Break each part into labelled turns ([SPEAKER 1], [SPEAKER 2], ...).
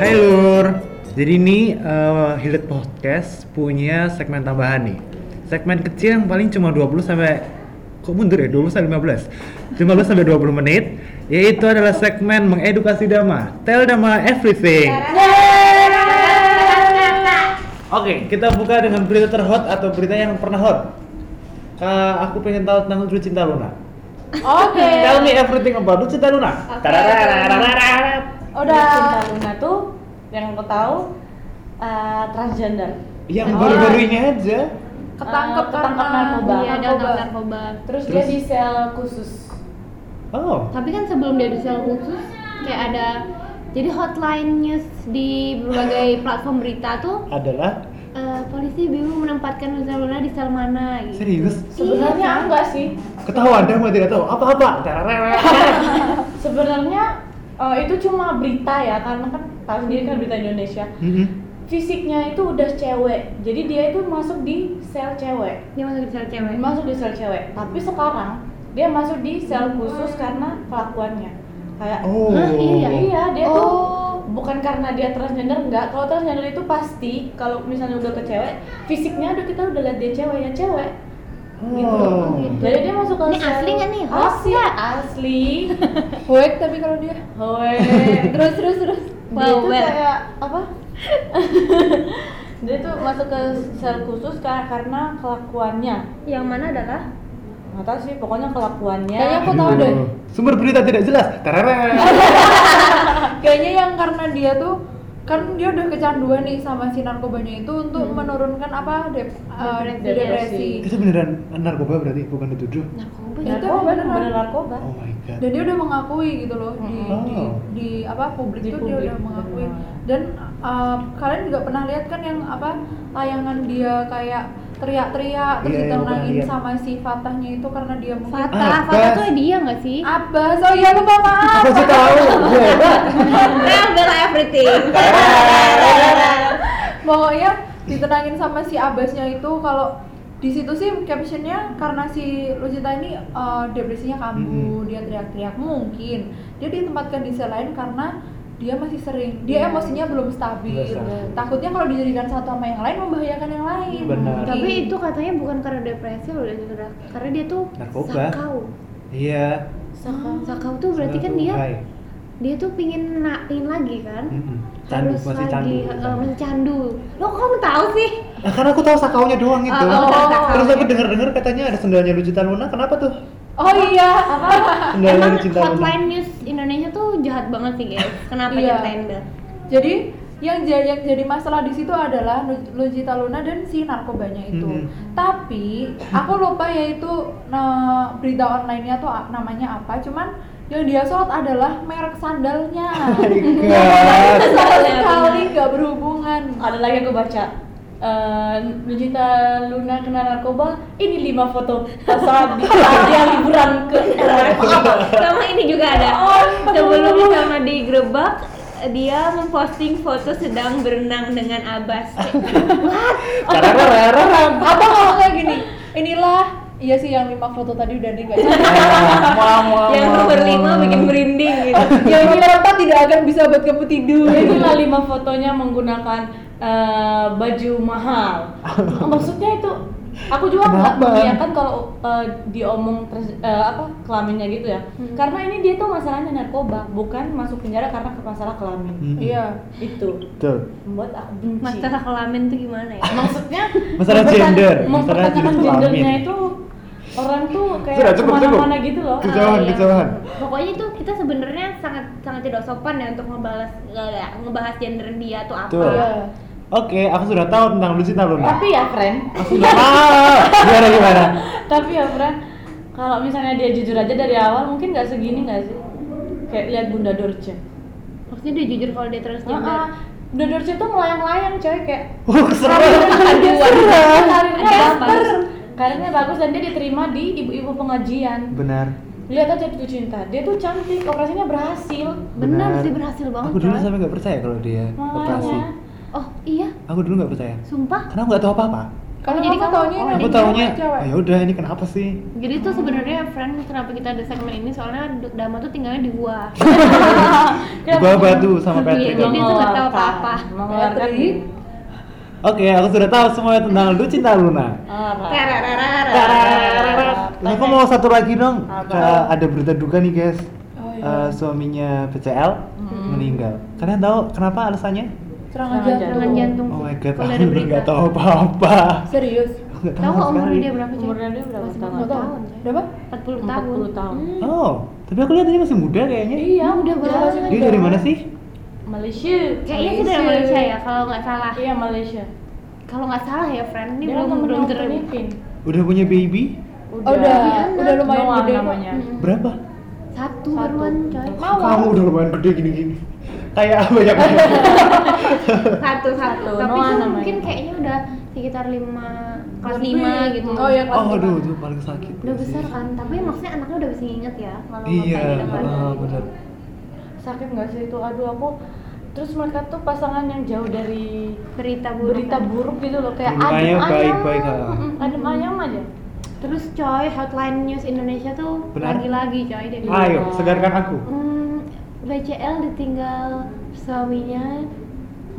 [SPEAKER 1] Hai Lur. Jadi ini eh, Hilet Podcast punya segmen tambahan nih. Segmen kecil yang paling cuma 20 sampai kok mundur ya 20 sampai 15. 15 sampai 20 menit yaitu adalah segmen mengedukasi Dama. Tell Dama everything. Oke, kita buka dengan berita terhot atau berita yang pernah hot. Kak, aku pengen tahu tentang Lucinta Cinta Luna.
[SPEAKER 2] Oke.
[SPEAKER 1] Tell me everything about Lucinta Luna.
[SPEAKER 2] Oke.
[SPEAKER 1] Tararararararar.
[SPEAKER 2] Udah.
[SPEAKER 3] Cinta Luna tuh yang aku tahu eh, transgender.
[SPEAKER 1] Yang
[SPEAKER 2] Oh.
[SPEAKER 1] baru-baru ini aja.
[SPEAKER 2] Ketangkep
[SPEAKER 3] Eh, ketangkep
[SPEAKER 2] karena
[SPEAKER 3] narkoba.
[SPEAKER 2] Iya, dia
[SPEAKER 3] Narkoba.
[SPEAKER 2] ketangkep narkoba.
[SPEAKER 3] Terus,
[SPEAKER 1] Terus?
[SPEAKER 3] dia di sel khusus.
[SPEAKER 1] Oh,
[SPEAKER 2] Tapi kan sebelum dia di sel khusus kayak ada jadi hotline news di berbagai platform berita tuh
[SPEAKER 1] oh, adalah
[SPEAKER 2] eh, polisi bingung menempatkan Lucinta Luna di sel mana gitu.
[SPEAKER 1] serius.
[SPEAKER 2] Iya.
[SPEAKER 3] Sebenarnya enggak sih.
[SPEAKER 1] Ketahuan dah mau tidak tahu apa-apa. Tararararararar.
[SPEAKER 3] Sebenarnya eh, itu cuma berita ya karena kan tahu sendiri kan berita Indonesia.
[SPEAKER 1] Mm-mm.
[SPEAKER 3] Fisiknya itu udah cewek. Jadi dia itu masuk di sel cewek.
[SPEAKER 2] Dia masuk di sel cewek.
[SPEAKER 3] Masuk di sel cewek. Tapi sekarang dia masuk di sel
[SPEAKER 2] Hmm.
[SPEAKER 3] khusus karena kelakuannya. Kayak
[SPEAKER 1] Oh.
[SPEAKER 2] Hah, iya,
[SPEAKER 3] Iya, dia tuh
[SPEAKER 2] Oh.
[SPEAKER 3] bukan karena dia transgender enggak. Kalau transgender itu pasti kalau misalnya udah ke cewek, fisiknya udah kita udah lihat dia cewek ya cewek. Gitu.
[SPEAKER 1] Oh.
[SPEAKER 3] Jadi dia masuk ke
[SPEAKER 2] Ini
[SPEAKER 3] sel-
[SPEAKER 2] asli nggak nih? Hoax
[SPEAKER 3] Asli,
[SPEAKER 2] nggak?
[SPEAKER 3] asli.
[SPEAKER 4] Hoek tapi kalau dia
[SPEAKER 3] Hoi.
[SPEAKER 2] Terus terus terus.
[SPEAKER 3] dia
[SPEAKER 2] Wow,
[SPEAKER 3] tuh
[SPEAKER 2] well.
[SPEAKER 3] kayak apa? dia tuh masuk ke sel khusus karena, karena kelakuannya.
[SPEAKER 2] Yang mana adalah?
[SPEAKER 3] Nggak tahu sih, pokoknya kelakuannya.
[SPEAKER 4] Kayaknya aku tahu deh.
[SPEAKER 1] Aduh. Sumber berita tidak jelas. Tararararararar.
[SPEAKER 4] Kayaknya yang karena dia tuh kan dia udah kecanduan nih sama si narkobanya itu untuk
[SPEAKER 3] Hmm.
[SPEAKER 4] menurunkan apa dep- eh,
[SPEAKER 2] Depresi.
[SPEAKER 4] depresi.
[SPEAKER 1] Itu beneran narkoba berarti bukan dituduh.
[SPEAKER 2] Narkoba.
[SPEAKER 4] Iya.
[SPEAKER 2] ya?
[SPEAKER 4] Itu
[SPEAKER 3] narkoba,
[SPEAKER 4] beneran.
[SPEAKER 3] bener narkoba.
[SPEAKER 1] Oh my god.
[SPEAKER 4] Dan dia udah mengakui gitu loh di di,
[SPEAKER 1] Oh.
[SPEAKER 4] di apa publik
[SPEAKER 3] Di
[SPEAKER 4] tuh
[SPEAKER 3] publik,
[SPEAKER 4] dia udah mengakui.
[SPEAKER 3] benar.
[SPEAKER 4] Dan eh, kalian juga pernah lihat kan yang apa tayangan dia kayak teriak-teriak
[SPEAKER 1] Iya,
[SPEAKER 4] terus
[SPEAKER 1] iya,
[SPEAKER 4] ditenangin
[SPEAKER 1] pernah lihat.
[SPEAKER 4] sama si Fatahnya itu karena dia mungkin
[SPEAKER 2] Fatah, Ah,
[SPEAKER 1] Abbas.
[SPEAKER 2] Fatah tuh dia nggak sih?
[SPEAKER 4] Abbas, oh iya lupa maaf
[SPEAKER 1] Aku sih tahu. Gue hebat.
[SPEAKER 2] Well, Bella everything.
[SPEAKER 4] pokoknya ditenangin sama si abasnya itu kalau di situ sih captionnya karena si Lucita ini uh, depresinya kambuh dia teriak-teriak mungkin dia ditempatkan di sel lain karena dia masih sering dia emosinya belum stabil
[SPEAKER 1] Belum Iya. stabil.
[SPEAKER 4] takutnya kalau dijadikan satu sama yang lain membahayakan yang lain
[SPEAKER 1] Benar.
[SPEAKER 2] Tapi itu katanya bukan karena depresi loh, dia gerak. karena dia tuh
[SPEAKER 1] Narkoba.
[SPEAKER 2] sakau.
[SPEAKER 1] Iya.
[SPEAKER 3] Saka.
[SPEAKER 2] Sakau tuh berarti kan dia
[SPEAKER 1] Hai.
[SPEAKER 2] dia tuh pingin na- pingin lagi kan?
[SPEAKER 1] Mm-mm. Candu
[SPEAKER 2] Harus
[SPEAKER 1] masih
[SPEAKER 2] lagi
[SPEAKER 1] candu.
[SPEAKER 2] eh, mencandu. Lo kok kamu tahu sih?
[SPEAKER 1] Nah, karena aku tahu sakaunya doang itu.
[SPEAKER 2] Oh,
[SPEAKER 4] oh.
[SPEAKER 1] Gitu. Terus aku dengar-dengar katanya ada sendalnya Lucinta Luna. Kenapa tuh?
[SPEAKER 4] oh iya apa
[SPEAKER 1] Sendalnya
[SPEAKER 2] Ah, Emang
[SPEAKER 1] Lucinta Luna.
[SPEAKER 2] hotline news Indonesia tuh jahat banget sih guys. Kenapa
[SPEAKER 4] Iya.
[SPEAKER 2] nyeritain Bel?
[SPEAKER 4] jadi yang jadi, yang jadi masalah di situ adalah Lu- Lujita Luna dan si narkobanya itu.
[SPEAKER 1] Mhm.
[SPEAKER 4] Tapi aku lupa yaitu nah, berita online-nya tuh a- namanya apa. Cuman yang dia sorot adalah merek sandalnya.
[SPEAKER 1] Iya. God.
[SPEAKER 4] Iya, Itu sama
[SPEAKER 3] Sandalnya,
[SPEAKER 4] sekali
[SPEAKER 3] benar.
[SPEAKER 4] nggak berhubungan.
[SPEAKER 3] ada lagi aku baca Eh Lujita Luna kena narkoba ini lima foto pas saat di- saat dia liburan ke
[SPEAKER 2] Sama ini juga ada. Sebelum sama digerebek dia memposting foto sedang berenang dengan Abbas.
[SPEAKER 1] Tarararararar.
[SPEAKER 4] Apa kalau kayak gini? Inilah iya sih yang lima foto tadi udah di
[SPEAKER 1] Wah, wah,
[SPEAKER 2] Yang
[SPEAKER 1] wah,
[SPEAKER 2] nomor
[SPEAKER 1] wah,
[SPEAKER 2] lima
[SPEAKER 1] wah.
[SPEAKER 2] bikin merinding gitu.
[SPEAKER 4] yang nilai empat tidak akan bisa buat kamu tidur.
[SPEAKER 3] inilah lima fotonya menggunakan eh, baju mahal maksudnya itu aku juga nggak
[SPEAKER 1] Kenapa?
[SPEAKER 3] mengiyakan kalau eh, diomong trans- eh, apa kelaminnya gitu ya karena ini dia tuh masalahnya narkoba bukan masuk penjara karena ke- masalah kelamin
[SPEAKER 1] Mm-mm.
[SPEAKER 4] Iya.
[SPEAKER 3] itu
[SPEAKER 1] Tuh.
[SPEAKER 3] membuat aku benci
[SPEAKER 2] Masalah kelamin tuh gimana ya?
[SPEAKER 3] maksudnya
[SPEAKER 1] Masalah
[SPEAKER 3] mempertan-
[SPEAKER 1] gender, masalah
[SPEAKER 3] mempertanyakan
[SPEAKER 1] jenis
[SPEAKER 3] gendernya
[SPEAKER 1] kelamin.
[SPEAKER 3] itu orang tuh
[SPEAKER 1] Sudah,
[SPEAKER 3] kayak
[SPEAKER 1] cukup,
[SPEAKER 3] kemana-mana
[SPEAKER 1] cukup.
[SPEAKER 3] gitu loh
[SPEAKER 1] Kejauhan,
[SPEAKER 2] Iya.
[SPEAKER 1] kejauhan.
[SPEAKER 2] Pokoknya itu kita sebenarnya sangat sangat tidak sopan ya untuk ngebahas ya, ngebahas gender dia atau apa.
[SPEAKER 1] Betul. Oke, aku sudah tahu tentang Lucinta Luna.
[SPEAKER 3] Eh, tapi ya friend
[SPEAKER 1] Aku sudah tahu. Gimana gimana?
[SPEAKER 3] tapi ya friend kalau misalnya dia jujur aja dari awal mungkin nggak segini nggak sih kayak lihat bunda Dorce
[SPEAKER 2] Maksudnya dia jujur kalau dia transgender.
[SPEAKER 3] Ah, ah. bunda Dorce tuh melayang-layang coy kayak
[SPEAKER 1] Wah, serem.
[SPEAKER 3] karirnya
[SPEAKER 2] Ada apa?
[SPEAKER 3] bagus karirnya bagus dan dia diterima di ibu-ibu pengajian
[SPEAKER 1] Benar.
[SPEAKER 3] lihat aja tuh cinta dia tuh cantik operasinya berhasil
[SPEAKER 2] Benar sih berhasil banget.
[SPEAKER 1] Aku dulu
[SPEAKER 2] coy.
[SPEAKER 1] sampai nggak percaya kalau dia operasi.
[SPEAKER 3] makanya
[SPEAKER 2] Oh iya,
[SPEAKER 1] Aku dulu nggak percaya.
[SPEAKER 2] sumpah.
[SPEAKER 1] Karena aku nggak tahu apa-apa.
[SPEAKER 4] Karena
[SPEAKER 2] jadi
[SPEAKER 4] kamu
[SPEAKER 2] kamu-
[SPEAKER 4] taunya
[SPEAKER 2] oh,
[SPEAKER 4] ini
[SPEAKER 1] Aku
[SPEAKER 4] ada
[SPEAKER 1] taunya,
[SPEAKER 4] cewek.
[SPEAKER 1] ya udah ini kenapa sih?
[SPEAKER 2] Jadi tuh sebenarnya friend kenapa kita ada segmen ini soalnya D- Dama tuh tinggalnya di gua.
[SPEAKER 1] Oh Di bawah batu sama Patrick.
[SPEAKER 2] Jadi dia tuh nggak tahu
[SPEAKER 3] Mengeluarkan-
[SPEAKER 2] apa-apa.
[SPEAKER 3] Mengeluarkan
[SPEAKER 4] Patrick.
[SPEAKER 1] Oke, aku sudah tahu semuanya tentang lu cinta Luna.
[SPEAKER 3] arah.
[SPEAKER 1] Tararararara. Nah, aku mau satu lagi dong.
[SPEAKER 3] Apa?
[SPEAKER 1] Eh, ada berita duka nih guys.
[SPEAKER 4] Oh, iya.
[SPEAKER 1] Eh, suaminya PCL
[SPEAKER 2] Hmm.
[SPEAKER 1] meninggal. Kalian tahu kenapa alasannya?
[SPEAKER 4] Serangan
[SPEAKER 3] Serangan
[SPEAKER 4] jantung.
[SPEAKER 2] Serangan jantung.
[SPEAKER 1] Oh my god,
[SPEAKER 2] Kalau
[SPEAKER 1] aku
[SPEAKER 2] dari
[SPEAKER 1] bener
[SPEAKER 2] berita.
[SPEAKER 1] nggak tahu apa-apa.
[SPEAKER 4] Serius?
[SPEAKER 1] Aku nggak
[SPEAKER 2] Tahu
[SPEAKER 1] tahu
[SPEAKER 2] nggak
[SPEAKER 1] sama
[SPEAKER 2] umurnya
[SPEAKER 1] sekali.
[SPEAKER 2] dia berapa? Cuy?
[SPEAKER 3] Umurnya dia berapa
[SPEAKER 2] Masih
[SPEAKER 3] tahun?
[SPEAKER 4] Nggak
[SPEAKER 2] 40
[SPEAKER 4] tahu.
[SPEAKER 2] tahun.
[SPEAKER 4] Berapa?
[SPEAKER 2] 40 tahun.
[SPEAKER 3] 40 tahun.
[SPEAKER 1] Oh, tapi aku lihat dia masih muda kayaknya.
[SPEAKER 3] Iya, udah
[SPEAKER 2] Udah
[SPEAKER 3] banget.
[SPEAKER 2] banget.
[SPEAKER 1] Dia dari mana sih?
[SPEAKER 3] Malaysia.
[SPEAKER 2] Kayaknya sih dari
[SPEAKER 4] Malaysia.
[SPEAKER 2] Malaysia ya kalau nggak salah.
[SPEAKER 3] Iya, Malaysia.
[SPEAKER 2] Kalau nggak salah ya friend ini
[SPEAKER 3] Dia
[SPEAKER 2] belum
[SPEAKER 3] temen
[SPEAKER 2] belum
[SPEAKER 3] aku
[SPEAKER 2] ter.
[SPEAKER 3] Filipin.
[SPEAKER 1] Udah punya baby?
[SPEAKER 4] Oh, udah,
[SPEAKER 2] Iya,
[SPEAKER 4] udah
[SPEAKER 2] anak.
[SPEAKER 4] lumayan
[SPEAKER 3] Noah
[SPEAKER 4] gede kok.
[SPEAKER 3] namanya.
[SPEAKER 2] Mm.
[SPEAKER 1] Berapa?
[SPEAKER 2] Satu
[SPEAKER 3] Satu.
[SPEAKER 2] baruan coy.
[SPEAKER 1] Kamu udah lumayan gede gini-gini. Kayak ya? banyak banget.
[SPEAKER 2] Satu satu.
[SPEAKER 3] Satu,
[SPEAKER 2] Tapi
[SPEAKER 3] Noah
[SPEAKER 2] tuh
[SPEAKER 3] namanya.
[SPEAKER 2] mungkin kayaknya udah sekitar lima kelas
[SPEAKER 4] Lebih.
[SPEAKER 2] lima gitu.
[SPEAKER 4] Oh iya, kelas
[SPEAKER 1] Oh,
[SPEAKER 4] lima.
[SPEAKER 1] aduh, itu paling sakit.
[SPEAKER 2] Udah
[SPEAKER 1] sih.
[SPEAKER 2] besar kan, tapi maksudnya anaknya udah bisa nginget ya kalau
[SPEAKER 1] Iya,
[SPEAKER 2] ngapain di depan.
[SPEAKER 1] ah, benar.
[SPEAKER 3] Sakit nggak sih itu? Aduh, aku terus mereka tuh pasangan yang jauh dari
[SPEAKER 2] Berita buruk.
[SPEAKER 3] berita
[SPEAKER 2] kan.
[SPEAKER 3] buruk gitu loh kayak
[SPEAKER 1] Makanya
[SPEAKER 3] adem ayam
[SPEAKER 1] baik-baik, Kak.
[SPEAKER 3] Mm-mm, adem ayam aja
[SPEAKER 2] Terus coy, hotline news Indonesia tuh
[SPEAKER 1] Benar.
[SPEAKER 2] lagi-lagi coy dia bilang,
[SPEAKER 1] Ayo, segarkan aku.
[SPEAKER 2] "Hmm, BCL ditinggal suaminya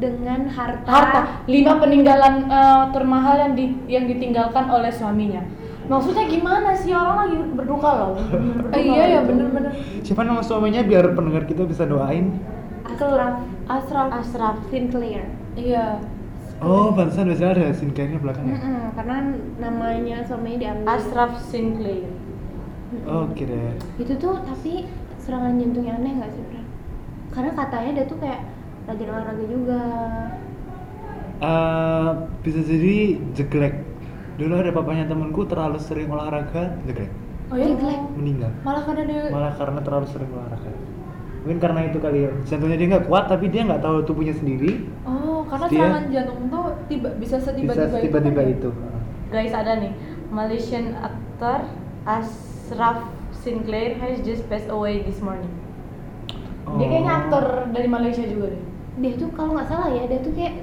[SPEAKER 2] dengan harta.
[SPEAKER 3] harta lima peninggalan eh, termahal yang di, yang ditinggalkan oleh suaminya maksudnya gimana sih orang lagi berduka loh gitu.
[SPEAKER 4] Eh, iya ya bener-bener.
[SPEAKER 1] Siapa nama suaminya biar pendengar kita bisa doain?
[SPEAKER 2] Asraf
[SPEAKER 4] Asraf.
[SPEAKER 3] asraf
[SPEAKER 2] Sinclair.
[SPEAKER 4] Iya.
[SPEAKER 1] Oh, pantesan biasanya ada sinkenya belakang ya?
[SPEAKER 2] Mm-mm, karena namanya suaminya diambil.
[SPEAKER 3] asraf sinclair
[SPEAKER 2] Hmm.
[SPEAKER 1] Oke deh.
[SPEAKER 2] Itu tuh tapi serangan jantungnya aneh nggak sih, Fran? Karena katanya dia tuh kayak rajin olahraga juga.
[SPEAKER 1] Eh, bisa jadi jeglek. Dulu ada papanya temanku terlalu sering olahraga, jeglek.
[SPEAKER 4] Oh iya.
[SPEAKER 2] Jelek.
[SPEAKER 1] Meninggal.
[SPEAKER 4] Malah karena dia
[SPEAKER 1] Malah karena terlalu sering olahraga. Mungkin karena itu kali ya. Jantungnya dia nggak kuat, tapi dia nggak tahu tubuhnya sendiri.
[SPEAKER 4] Oh, karena
[SPEAKER 1] Dia-
[SPEAKER 4] serangan jantung tuh tiba bisa
[SPEAKER 1] Bisa
[SPEAKER 4] setiba-tiba itu.
[SPEAKER 1] tiba-tiba
[SPEAKER 4] kan ya?
[SPEAKER 1] itu.
[SPEAKER 3] guys ada nih Malaysian actor Ashraf Sinclair has just passed away this morning dia
[SPEAKER 1] Oh.
[SPEAKER 3] kayaknya aktor dari Malaysia juga deh
[SPEAKER 2] Dia tuh kalau nggak salah ya, dia tuh kayak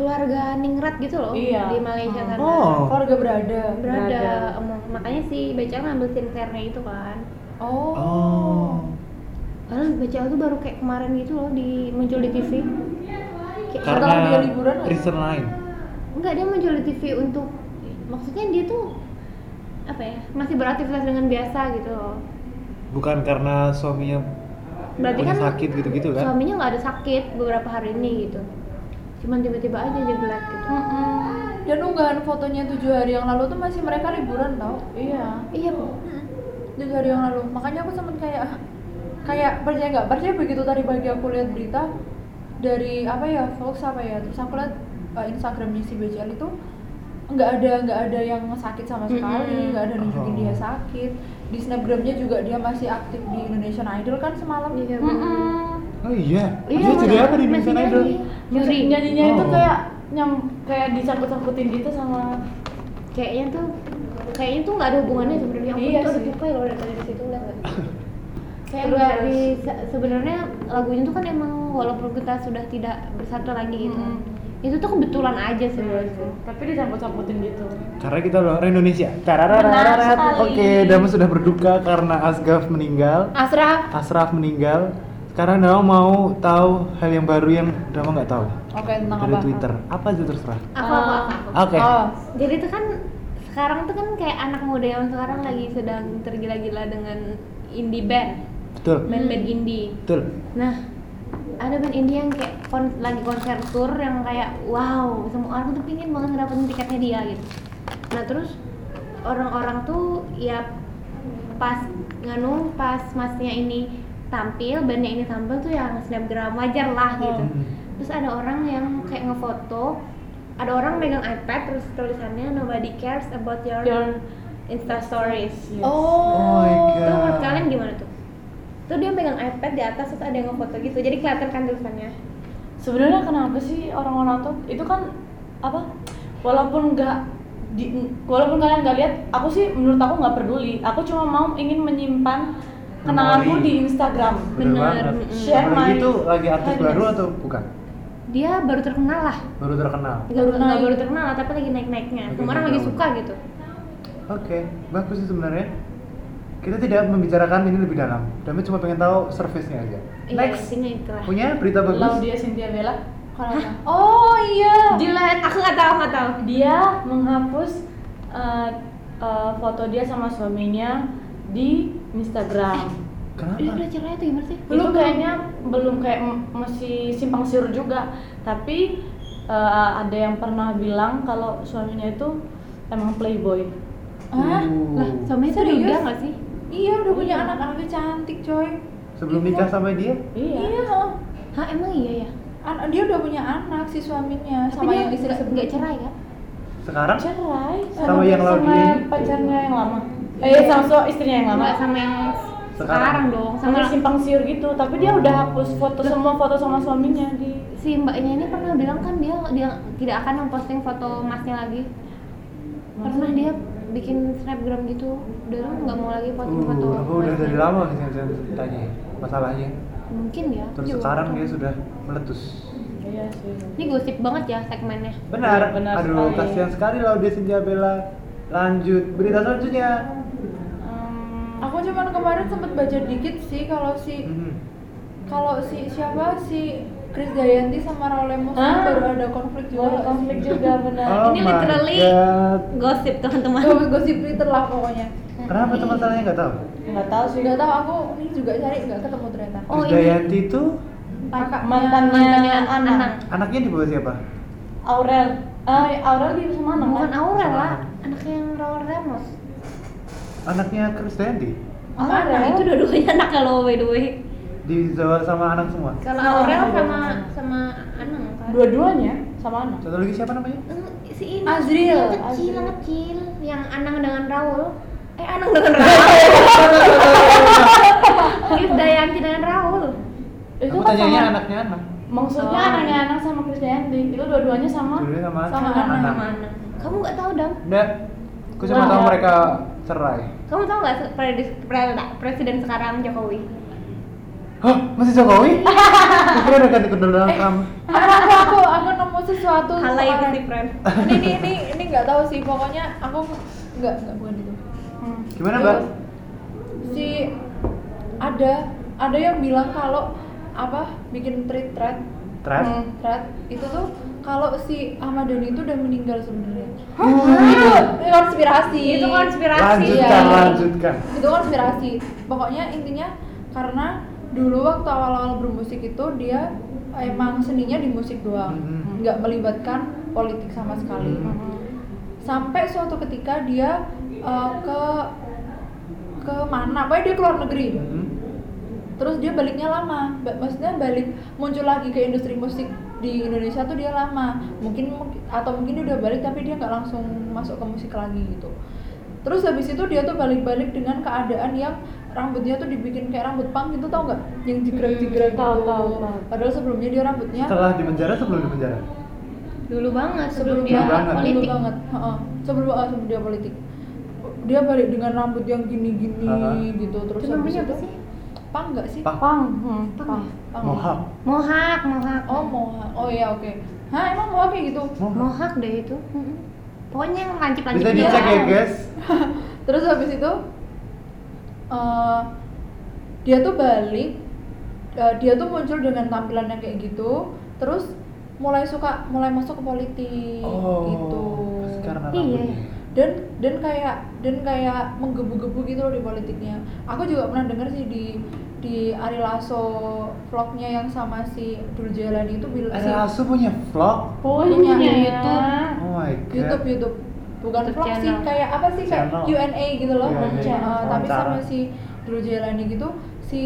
[SPEAKER 2] keluarga ningrat gitu loh
[SPEAKER 3] Iya.
[SPEAKER 2] di Malaysia karena
[SPEAKER 1] Oh.
[SPEAKER 4] Keluarga berada.
[SPEAKER 2] berada
[SPEAKER 3] Berada.
[SPEAKER 2] emang makanya si BCL ngambil sinclairnya itu kan
[SPEAKER 4] Oh.
[SPEAKER 1] Oh.
[SPEAKER 2] padahal BCL tuh baru kayak kemarin gitu loh di muncul di TV kayak,
[SPEAKER 1] Karena
[SPEAKER 4] Setelah dia liburan aja.
[SPEAKER 1] reason lain.
[SPEAKER 2] enggak dia muncul di TV untuk maksudnya dia tuh apa ya masih beraktivitas dengan biasa gitu loh
[SPEAKER 1] Bukan karena suaminya
[SPEAKER 2] berarti
[SPEAKER 1] punya
[SPEAKER 2] kan
[SPEAKER 1] sakit gitu-gitu kan?
[SPEAKER 2] suaminya nggak ada sakit beberapa hari ini gitu cuman tiba-tiba aja jelek gitu
[SPEAKER 4] Dan unggahan fotonya tujuh hari yang lalu tuh masih mereka liburan tau
[SPEAKER 3] iya
[SPEAKER 2] iya
[SPEAKER 4] Tiga hari yang lalu, makanya aku sempet kayak Kayak percaya nggak percaya begitu tadi pagi aku lihat berita Dari apa ya, Fox apa ya Terus aku lihat uh, Instagramnya si BCL itu nggak ada nggak ada yang sakit sama sekali
[SPEAKER 2] Mm-mm.
[SPEAKER 4] nggak ada nunjukin
[SPEAKER 1] Oh.
[SPEAKER 4] dia sakit di snapgramnya juga dia masih aktif di Indonesian Idol kan semalam
[SPEAKER 2] Iya,
[SPEAKER 4] Mm-mm.
[SPEAKER 2] bener.
[SPEAKER 1] Oh iya. Dia jadi
[SPEAKER 2] Iya, makanya
[SPEAKER 1] apa di Indonesian
[SPEAKER 2] masih
[SPEAKER 1] Idol?
[SPEAKER 2] nyanyi.
[SPEAKER 3] Musik
[SPEAKER 2] Juri.
[SPEAKER 3] nyanyinya itu
[SPEAKER 1] Oh.
[SPEAKER 3] kayak nyam kayak disangkut-sangkutin gitu sama
[SPEAKER 2] kayaknya tuh kayaknya tuh nggak ada hubungannya sebenarnya aku
[SPEAKER 3] Iya
[SPEAKER 2] tuh ada
[SPEAKER 3] sih.
[SPEAKER 2] jumpa loh dari tadi di situ lihat nggak? kayak
[SPEAKER 3] Terus,
[SPEAKER 2] nggak
[SPEAKER 3] terus.
[SPEAKER 2] di se- sebenarnya lagunya tuh kan emang walaupun kita sudah tidak bersatu lagi gitu
[SPEAKER 3] Mm.
[SPEAKER 2] itu tuh kebetulan aja
[SPEAKER 3] Iya
[SPEAKER 2] sih menurutku
[SPEAKER 3] tapi disangkut-sangkutin gitu
[SPEAKER 1] Karena kita luar Indonesia.
[SPEAKER 3] Benar
[SPEAKER 1] Tararararat.
[SPEAKER 3] sekali.
[SPEAKER 1] Oke, Dama sudah berduka karena Asgaf meninggal,
[SPEAKER 2] Asraf
[SPEAKER 1] Asraf meninggal. Sekarang Dama mau tahu hal yang baru yang Dama nggak tahu
[SPEAKER 4] oke tentang
[SPEAKER 1] dari
[SPEAKER 4] apa
[SPEAKER 1] Twitter. Apa aja terserah.
[SPEAKER 2] apa apa
[SPEAKER 3] Eh.
[SPEAKER 2] apa, apa.
[SPEAKER 1] Oke.
[SPEAKER 4] oh
[SPEAKER 2] jadi tuh kan sekarang tuh kan kayak anak muda yang sekarang lagi sedang tergila-gila dengan indie band
[SPEAKER 1] Betul.
[SPEAKER 2] band-band indie
[SPEAKER 1] Betul.
[SPEAKER 2] Hmm. Nah, ada band India yang kayak kon- lagi konser tour yang kayak wow, semua orang tuh pingin banget ngedapetin tiketnya dia gitu. Nah, terus orang-orang tuh ya pas nganu pas masnya ini tampil, bandnya ini tampil tuh yang snapgram wajar lah gitu.
[SPEAKER 1] Hmm.
[SPEAKER 2] Terus ada orang yang kayak ngefoto, ada orang megang iPad terus tulisannya nobody cares about your,
[SPEAKER 3] Your-
[SPEAKER 2] Insta stories.
[SPEAKER 3] Yes.
[SPEAKER 1] Oh my
[SPEAKER 4] oh
[SPEAKER 2] Itu menurut
[SPEAKER 1] God.
[SPEAKER 2] kalian gimana tuh? Tuh dia pegang iPad di atas terus ada yang ngefoto gitu, jadi kelihatan kan tulisannya.
[SPEAKER 3] sebenarnya kenapa sih orang-orang tuh itu kan apa walaupun nggak di- walaupun kalian nggak lihat aku sih menurut aku nggak peduli aku cuma mau ingin menyimpan kenanganku
[SPEAKER 1] Memori.
[SPEAKER 3] di Instagram
[SPEAKER 2] Bener,
[SPEAKER 1] Bener banget.
[SPEAKER 2] mm-mm.
[SPEAKER 3] Share
[SPEAKER 1] Apalagi
[SPEAKER 3] my
[SPEAKER 1] itu lagi artis
[SPEAKER 3] happiness.
[SPEAKER 1] baru atau bukan?
[SPEAKER 2] dia baru terkenal lah
[SPEAKER 1] baru terkenal.
[SPEAKER 2] nggak
[SPEAKER 3] Baru
[SPEAKER 2] nggak
[SPEAKER 3] naik.
[SPEAKER 2] baru terkenal lah, tapi lagi naik naiknya
[SPEAKER 1] Lagi
[SPEAKER 2] semua orang lagi
[SPEAKER 1] naik
[SPEAKER 2] suka gitu
[SPEAKER 1] Oke, bagus sih sebenarnya. Kita tidak membicarakan ini lebih dalam. Kami cuma pengen tahu surface-nya aja.
[SPEAKER 2] iya
[SPEAKER 1] Next,
[SPEAKER 2] intinya itulah
[SPEAKER 1] punya berita bagus?
[SPEAKER 3] Laudia Cynthia Bella kalau nggak salah.
[SPEAKER 4] Oh iya.
[SPEAKER 2] Jilat, aku nggak tahu nggak tahu
[SPEAKER 3] dia menghapus eh, eh, foto dia sama suaminya di Instagram.
[SPEAKER 2] Udah, udah
[SPEAKER 1] Kenapa?
[SPEAKER 2] cerai itu gimana sih?
[SPEAKER 3] Itu kayaknya belum kayak m- masih simpang siur juga, tapi eh, ada yang pernah bilang kalau suaminya itu emang playboy.
[SPEAKER 4] Hah?
[SPEAKER 2] Lah, suaminya tuh
[SPEAKER 4] Serius?
[SPEAKER 2] udah nggak sih?
[SPEAKER 4] Iya udah punya
[SPEAKER 3] Iya.
[SPEAKER 4] anak-anaknya cantik coy.
[SPEAKER 1] Sebelum nikah sama dia?
[SPEAKER 3] Iya.
[SPEAKER 4] Iya.
[SPEAKER 2] Hah, emang iya ya?
[SPEAKER 4] An- dia udah punya anak si suaminya
[SPEAKER 2] Tapi
[SPEAKER 4] sama
[SPEAKER 2] dia
[SPEAKER 4] yang istri
[SPEAKER 2] nggak-
[SPEAKER 4] sebelumnya.
[SPEAKER 2] nggak cerai kan?
[SPEAKER 1] Sekarang?
[SPEAKER 3] Iya, Cerai
[SPEAKER 1] Sama yang Laudia
[SPEAKER 3] sama
[SPEAKER 1] ini?
[SPEAKER 3] pacarnya yang lama. Eh sama so- istrinya yang lama.
[SPEAKER 2] Nggak sama yang sekarang,
[SPEAKER 1] Sekarang.
[SPEAKER 2] dong sama
[SPEAKER 3] Sama simpang siur gitu, tapi dia udah hapus foto semua foto sama suaminya di
[SPEAKER 2] si mbaknya ini pernah bilang kan dia dia tidak akan memposting foto masnya lagi pernah dia bikin snapgram gitu udah lah, nggak mau lagi posting foto
[SPEAKER 1] Uh, oh, udah
[SPEAKER 2] masnya.
[SPEAKER 1] dari lama sih yang saya tanya ya, masalahnya.
[SPEAKER 2] mungkin ya aku
[SPEAKER 1] Terus
[SPEAKER 2] juga
[SPEAKER 1] sekarang
[SPEAKER 2] nggak
[SPEAKER 1] dia
[SPEAKER 2] tahu.
[SPEAKER 1] sudah meletus.
[SPEAKER 3] Iya sih.
[SPEAKER 2] ini gosip banget ya segmennya
[SPEAKER 1] Benar.
[SPEAKER 3] Benar
[SPEAKER 1] Aduh,
[SPEAKER 3] sekali.
[SPEAKER 1] kasihan sekali Laudia Cynthia Bella. Lanjut, berita selanjutnya.
[SPEAKER 3] Em,
[SPEAKER 4] Aku cuman kemarin sempet baca dikit sih kalau si
[SPEAKER 1] Mhm.
[SPEAKER 4] kalau si siapa si Chris Dayanti sama Raul Lemos tuh
[SPEAKER 3] Ah.
[SPEAKER 4] baru ada konflik juga.
[SPEAKER 3] Ada konflik juga benar.
[SPEAKER 1] Oh
[SPEAKER 2] Ini
[SPEAKER 1] my
[SPEAKER 2] literally-
[SPEAKER 1] God.
[SPEAKER 2] gosip teman-teman
[SPEAKER 4] Eh, Gosip- Gosip Twitter lah pokoknya.
[SPEAKER 1] Oh, Kenapa tuh masalahnya nggak tahu?
[SPEAKER 3] Nggak tahu sih.
[SPEAKER 4] Nggak tahu aku ini juga cari nggak ketemu ternyata.
[SPEAKER 2] Oh,
[SPEAKER 1] Chris
[SPEAKER 2] ini.
[SPEAKER 1] Dayanti itu
[SPEAKER 4] Kakak
[SPEAKER 3] Mantannya
[SPEAKER 2] mantannya
[SPEAKER 3] Anang.
[SPEAKER 2] Anang
[SPEAKER 1] anaknya di bawah siapa?
[SPEAKER 3] Aurel. Eh, Aurel di sama Anang
[SPEAKER 2] bukan
[SPEAKER 3] kan?
[SPEAKER 2] Aurel
[SPEAKER 1] Sama
[SPEAKER 2] lah
[SPEAKER 1] Anang.
[SPEAKER 2] anaknya yang Raul Ramos
[SPEAKER 1] Anaknya Chris Dayanti
[SPEAKER 3] Sama
[SPEAKER 2] Aurel
[SPEAKER 3] Aurel.
[SPEAKER 2] itu dua-duanya anak kalau by the way
[SPEAKER 1] dijawab sama anak semua.
[SPEAKER 2] kalau
[SPEAKER 3] Sama
[SPEAKER 2] Aurel
[SPEAKER 3] Anang.
[SPEAKER 2] sama sama Anang kan
[SPEAKER 3] Dua-duanya sama Anang.
[SPEAKER 1] Satu lagi siapa namanya?
[SPEAKER 2] Eh, si ini
[SPEAKER 4] Azril,
[SPEAKER 2] yang kecil
[SPEAKER 3] Azril.
[SPEAKER 2] yang kecil yang Anang dengan Raul eh Anang dengan Raul Chris Dayanti dengan Raul
[SPEAKER 3] Itu
[SPEAKER 1] Aku
[SPEAKER 3] kan
[SPEAKER 1] tanyanya
[SPEAKER 3] sama-
[SPEAKER 1] anaknya anak.
[SPEAKER 3] Maksudnya
[SPEAKER 2] Oh.
[SPEAKER 3] anaknya Anang sama Chris Dayanti. Itu dua-duanya sama.
[SPEAKER 1] Dulu sama,
[SPEAKER 4] Sama
[SPEAKER 1] anak.
[SPEAKER 2] sama Anang kamu nggak tahu dam
[SPEAKER 1] Nggak. Aku cuma
[SPEAKER 3] Wah.
[SPEAKER 1] tahu mereka cerai.
[SPEAKER 2] kamu tahu nggak se- predis- pre- presiden sekarang Jokowi
[SPEAKER 1] Hah? Masih Jokowi? Kira udah ganti kedua dalam kamu.
[SPEAKER 4] aku aku aku nemu sesuatu
[SPEAKER 2] halai
[SPEAKER 4] kemarin.
[SPEAKER 2] itu friend
[SPEAKER 4] ini ini ini ini nggak tahu sih pokoknya aku nggak nggak bukan itu
[SPEAKER 3] Hmm.
[SPEAKER 1] Gimana, Mbak?
[SPEAKER 4] si ada ada yang bilang kalau apa bikin tweet thread
[SPEAKER 1] Trap?
[SPEAKER 4] hmm, thread itu tuh kalau si Ahmad Dhani itu udah meninggal sebenarnya itu
[SPEAKER 1] Uh.
[SPEAKER 4] konspirasi
[SPEAKER 2] itu konspirasi
[SPEAKER 1] Lanjutkan,
[SPEAKER 4] ya.
[SPEAKER 1] lanjutkan.
[SPEAKER 4] itu konspirasi pokoknya intinya karena dulu waktu awal-awal bermusik itu dia emang seninya di musik doang
[SPEAKER 1] Mhm.
[SPEAKER 4] nggak melibatkan politik sama sekali
[SPEAKER 1] Hmm.
[SPEAKER 4] sampai suatu ketika dia uh, ke ke mana pokoknya dia keluar negeri
[SPEAKER 1] Mhm.
[SPEAKER 4] terus dia baliknya lama Ba- maksudnya balik muncul lagi ke industri musik di Indonesia tuh dia lama mungkin atau mungkin dia udah balik tapi dia nggak langsung masuk ke musik lagi gitu terus habis itu dia tuh balik-balik dengan keadaan yang rambutnya tuh dibikin kayak rambut punk gitu tau nggak yang
[SPEAKER 3] Hmm,
[SPEAKER 4] digerak-gerak
[SPEAKER 3] tahu,
[SPEAKER 4] gitu
[SPEAKER 3] tahu, tahu.
[SPEAKER 4] padahal sebelumnya dia rambutnya
[SPEAKER 1] Setelah di penjara sebelum di penjara.
[SPEAKER 2] dulu banget sebelum
[SPEAKER 4] sebelum
[SPEAKER 2] dia
[SPEAKER 1] banget.
[SPEAKER 4] dulu
[SPEAKER 2] politik
[SPEAKER 4] banget heeh. sebelum ah, sebelum dia politik dia balik dengan rambut yang gini-gini
[SPEAKER 1] Heeh.
[SPEAKER 4] gitu terus
[SPEAKER 2] itu
[SPEAKER 4] habis
[SPEAKER 2] namanya
[SPEAKER 4] itu
[SPEAKER 2] apa sih
[SPEAKER 4] pang nggak sih
[SPEAKER 1] Pang.
[SPEAKER 3] Pang. Hmm.
[SPEAKER 2] Pang.
[SPEAKER 3] Pang.
[SPEAKER 4] Pang.
[SPEAKER 1] Mohak.
[SPEAKER 2] mohak mohak
[SPEAKER 4] oh mohak oh iya oke hah emang mohak kayak gitu
[SPEAKER 1] Mohak.
[SPEAKER 2] mohak deh itu Mm-mm. pokoknya yang lancip lancip
[SPEAKER 1] Bisa dicek ya, guys.
[SPEAKER 4] terus habis itu eh, dia tuh balik eh, dia tuh muncul dengan tampilan yang kayak gitu terus mulai suka mulai masuk ke politik gitu
[SPEAKER 1] Oh, karena
[SPEAKER 2] Iya.
[SPEAKER 1] rambutnya.
[SPEAKER 4] dan dan kayak dan kayak menggebu-gebu gitu loh di politiknya aku juga pernah denger sih di di Ari Lasso vlognya yang sama si Dul Jalani itu bilang
[SPEAKER 1] Eh,
[SPEAKER 4] si
[SPEAKER 1] Asu punya vlog?
[SPEAKER 4] Punya itu.
[SPEAKER 1] Oh my god.
[SPEAKER 4] YouTube ya, YouTube bukan
[SPEAKER 2] YouTube
[SPEAKER 4] vlog sih
[SPEAKER 2] channel.
[SPEAKER 4] kayak apa sih kayak
[SPEAKER 1] Channel.
[SPEAKER 4] Q&A gitu loh
[SPEAKER 1] Q&A,
[SPEAKER 4] Eh, tapi
[SPEAKER 1] wawancara.
[SPEAKER 4] sama si Dul Jalani gitu si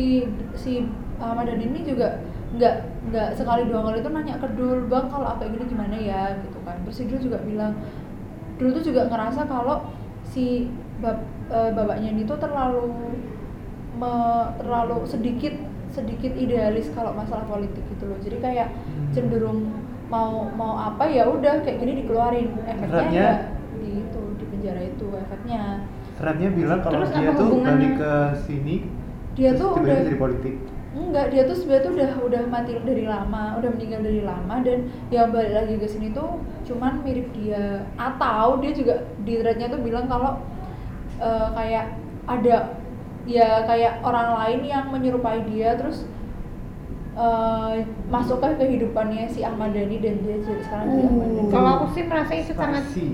[SPEAKER 4] si Ahmad Dhani ini juga nggak nggak sekali dua kali itu nanya ke Dul bang kalau apa gini gimana ya gitu kan terus si Dul juga bilang dulu tuh juga ngerasa kalau si bab, eh, babaknya ini tuh terlalu me- terlalu sedikit sedikit idealis kalau masalah politik gitu loh jadi kayak
[SPEAKER 1] Hmm.
[SPEAKER 4] cenderung mau mau apa ya udah kayak gini dikeluarin efeknya
[SPEAKER 1] Efeknya?
[SPEAKER 4] ya gitu di penjara itu efeknya
[SPEAKER 1] Threadnya bilang kalau
[SPEAKER 2] Terus
[SPEAKER 1] dia
[SPEAKER 2] apa
[SPEAKER 1] tuh
[SPEAKER 2] hubungannya?
[SPEAKER 1] balik ke sini
[SPEAKER 4] dia
[SPEAKER 1] terus
[SPEAKER 4] tuh
[SPEAKER 1] tiba-tiba
[SPEAKER 4] udah
[SPEAKER 1] jadi politik
[SPEAKER 4] Enggak, dia tuh sebenarnya tuh udah udah mati dari lama, udah meninggal dari lama dan yang balik lagi ke sini tuh cuman mirip dia atau dia juga di threadnya tuh bilang kalau eh, kayak ada ya kayak orang lain yang menyerupai dia terus eh, masuk ke kehidupannya si Ahmad Dhani dan dia jadi sekarang jadi Ahmad Dhani.
[SPEAKER 2] Kalau aku sih merasa itu sangat
[SPEAKER 1] Spasi.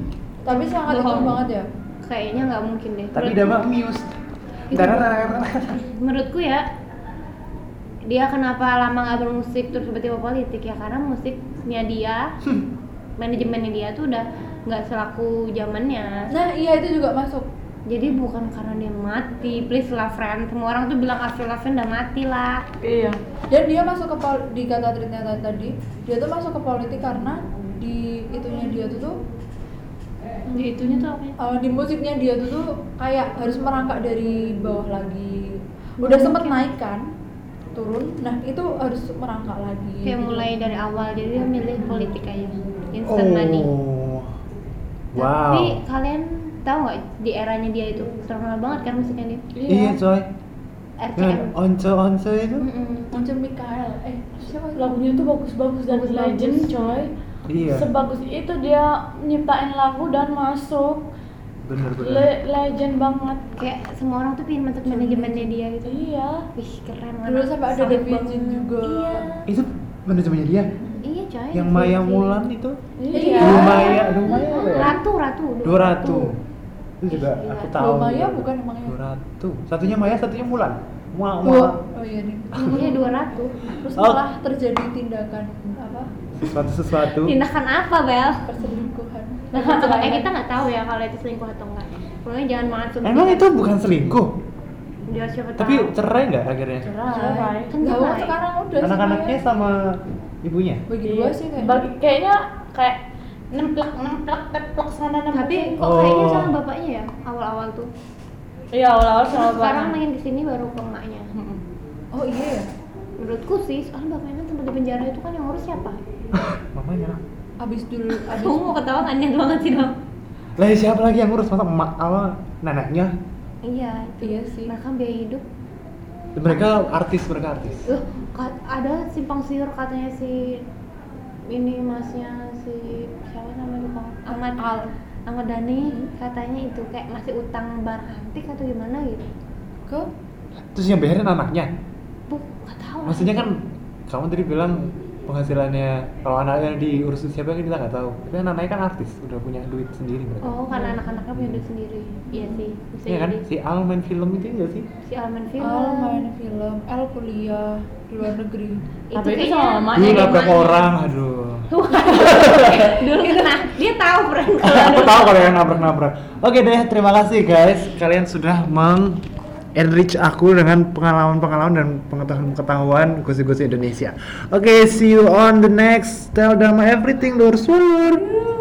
[SPEAKER 4] Tapi sangat itu
[SPEAKER 3] Bohong.
[SPEAKER 4] banget ya.
[SPEAKER 2] kayaknya nggak mungkin deh.
[SPEAKER 1] Tapi
[SPEAKER 2] Menurut-
[SPEAKER 1] damak mius. Tarararara.
[SPEAKER 2] menurutku ya dia kenapa lama nggak bermusik terus tiba-tiba politik ya karena musiknya dia
[SPEAKER 1] Hmm.
[SPEAKER 2] manajemennya dia tuh udah nggak selaku zamannya
[SPEAKER 4] Nah, iya itu juga masuk.
[SPEAKER 2] jadi bukan karena dia mati please lah friend semua orang tuh bilang Avril Lavigne udah mati lah
[SPEAKER 3] Iya.
[SPEAKER 4] dan dia masuk ke pol- di kata Tritnya tadi- tadi dia tuh masuk ke politik karena di itunya dia tuh tuh
[SPEAKER 2] di itunya tuh apa ya
[SPEAKER 4] uh, di musiknya dia tuh tuh kayak harus merangkak dari bawah lagi udah sempet naik kan turun nah itu harus merangkak lagi
[SPEAKER 1] Iya
[SPEAKER 2] kayak
[SPEAKER 4] gitu.
[SPEAKER 2] mulai dari awal jadi dia milih politik aja
[SPEAKER 1] Oh.
[SPEAKER 2] instant money tapi
[SPEAKER 1] Wow.
[SPEAKER 2] kalian tahu nggak di eranya dia itu terkenal banget kan musiknya dia
[SPEAKER 1] Iya, coy.
[SPEAKER 2] RCM
[SPEAKER 1] Kan once-once itu.
[SPEAKER 2] Mm-mm.
[SPEAKER 4] muncul Mikael eh siapa
[SPEAKER 3] Lagunya tuh bagus-bagus dan
[SPEAKER 2] Bagus-bagus.
[SPEAKER 3] legend coy.
[SPEAKER 1] Iya.
[SPEAKER 3] Sebagus itu dia nyiptain lagu dan masuk
[SPEAKER 1] Bener bener.
[SPEAKER 3] Le- legend banget.
[SPEAKER 2] kayak semua orang tuh pengen masuk manajemennya dia gitu
[SPEAKER 3] Iya.
[SPEAKER 2] Wih keren banget.
[SPEAKER 4] dulu sampai ada
[SPEAKER 3] Sangat
[SPEAKER 4] Davidin
[SPEAKER 3] banget.
[SPEAKER 4] juga
[SPEAKER 2] Iya.
[SPEAKER 1] Itu manajemennya dia.
[SPEAKER 2] Iya coy.
[SPEAKER 1] Yang Maya
[SPEAKER 2] Fiji.
[SPEAKER 1] Mulan itu.
[SPEAKER 3] Ya.
[SPEAKER 4] Iya.
[SPEAKER 1] Dua Maya, dua Maya apa ya?
[SPEAKER 2] Ratu, ratu.
[SPEAKER 1] Dua ratu. Itu juga
[SPEAKER 2] Iya.
[SPEAKER 1] aku tahu.
[SPEAKER 4] Loh, Maya ya, bukan emangnya
[SPEAKER 1] Dua ratu. Satunya Maya, satunya Mulan. Mulan.
[SPEAKER 4] Dua. oh iya nih
[SPEAKER 2] Iya dua ratu.
[SPEAKER 4] terus
[SPEAKER 1] Oh.
[SPEAKER 4] malah terjadi tindakan apa
[SPEAKER 1] Sesuatu sesuatu.
[SPEAKER 2] Tindakan apa Bel?
[SPEAKER 4] perselingkuhan
[SPEAKER 2] eh kita nggak tahu ya kalau itu selingkuh atau enggak. Pokoknya jangan masuk.
[SPEAKER 1] Emang itu bukan selingkuh?
[SPEAKER 2] Dia siapa tahu.
[SPEAKER 1] Tapi cerai nggak akhirnya?
[SPEAKER 2] Iya,
[SPEAKER 3] Cerai.
[SPEAKER 4] Kan nggak
[SPEAKER 2] Cerai.
[SPEAKER 4] sekarang udah
[SPEAKER 1] Anak-anaknya
[SPEAKER 4] sih,
[SPEAKER 1] sama ibunya?
[SPEAKER 4] kayak bagi
[SPEAKER 3] Iya.
[SPEAKER 4] dua sih kayaknya.
[SPEAKER 3] Bagi kayaknya kayak nemplak nemplak teplak sana nemplak.
[SPEAKER 2] tapi kok
[SPEAKER 1] Oh.
[SPEAKER 2] kayaknya sama bapaknya ya awal-awal tuh.
[SPEAKER 3] iya awal-awal
[SPEAKER 2] Terus
[SPEAKER 3] sama
[SPEAKER 2] sekarang
[SPEAKER 3] banget.
[SPEAKER 2] main kesini baru ke emaknya.
[SPEAKER 3] Mm-mm.
[SPEAKER 4] Oh iya ya.
[SPEAKER 2] Menurutku sih soalnya bapaknya tempat di penjara itu kan yang ngurus siapa?
[SPEAKER 1] Mamanya.
[SPEAKER 4] Abis dulu abis
[SPEAKER 2] Kamu mau ketawa nggak nyet banget sih dong.
[SPEAKER 1] Lah ya siapa lagi yang ngurus masa emak sama neneknya?
[SPEAKER 2] Iya.
[SPEAKER 4] iya sih.
[SPEAKER 2] Mereka biaya hidup
[SPEAKER 1] Mereka artis, mereka artis.
[SPEAKER 2] Loh, ka- ada simpang siur katanya si ini masnya si siapa namanya lupa Ahmad Al Hmm. Ahmad Dhani katanya itu kayak masih utang bar antik atau gimana gitu
[SPEAKER 4] Ke
[SPEAKER 1] Terus yang bayarin anaknya.
[SPEAKER 2] bu nggak tahu
[SPEAKER 1] Maksudnya kan kamu tadi bilang penghasilannya kalau anaknya diurus siapa kita nggak tahu. Tapi anaknya kan artis, udah punya duit sendiri mereka.
[SPEAKER 2] oh karena anak-anaknya punya duit sendiri iya sih bisa
[SPEAKER 1] Iya kan?
[SPEAKER 2] jadi
[SPEAKER 1] Si Al main film itu enggak sih?
[SPEAKER 2] si Alman Film
[SPEAKER 4] Al main film, Al kuliah di luar negeri.
[SPEAKER 3] Tapi itu sama emaknya
[SPEAKER 1] Dulu
[SPEAKER 3] dia
[SPEAKER 1] nabrak
[SPEAKER 3] main.
[SPEAKER 1] orang, aduh.
[SPEAKER 2] dulu kena dia tahu friend kalau
[SPEAKER 1] aku
[SPEAKER 2] dulu.
[SPEAKER 1] tahu kalau yang nabrak-nabrak. Oke deh, terima kasih guys. Kalian sudah meng enrich aku dengan pengalaman-pengalaman dan pengetahuan-pengetahuan gosip-gosip Indonesia. Oke, see you on the next. Tell them everything, lur. Sur.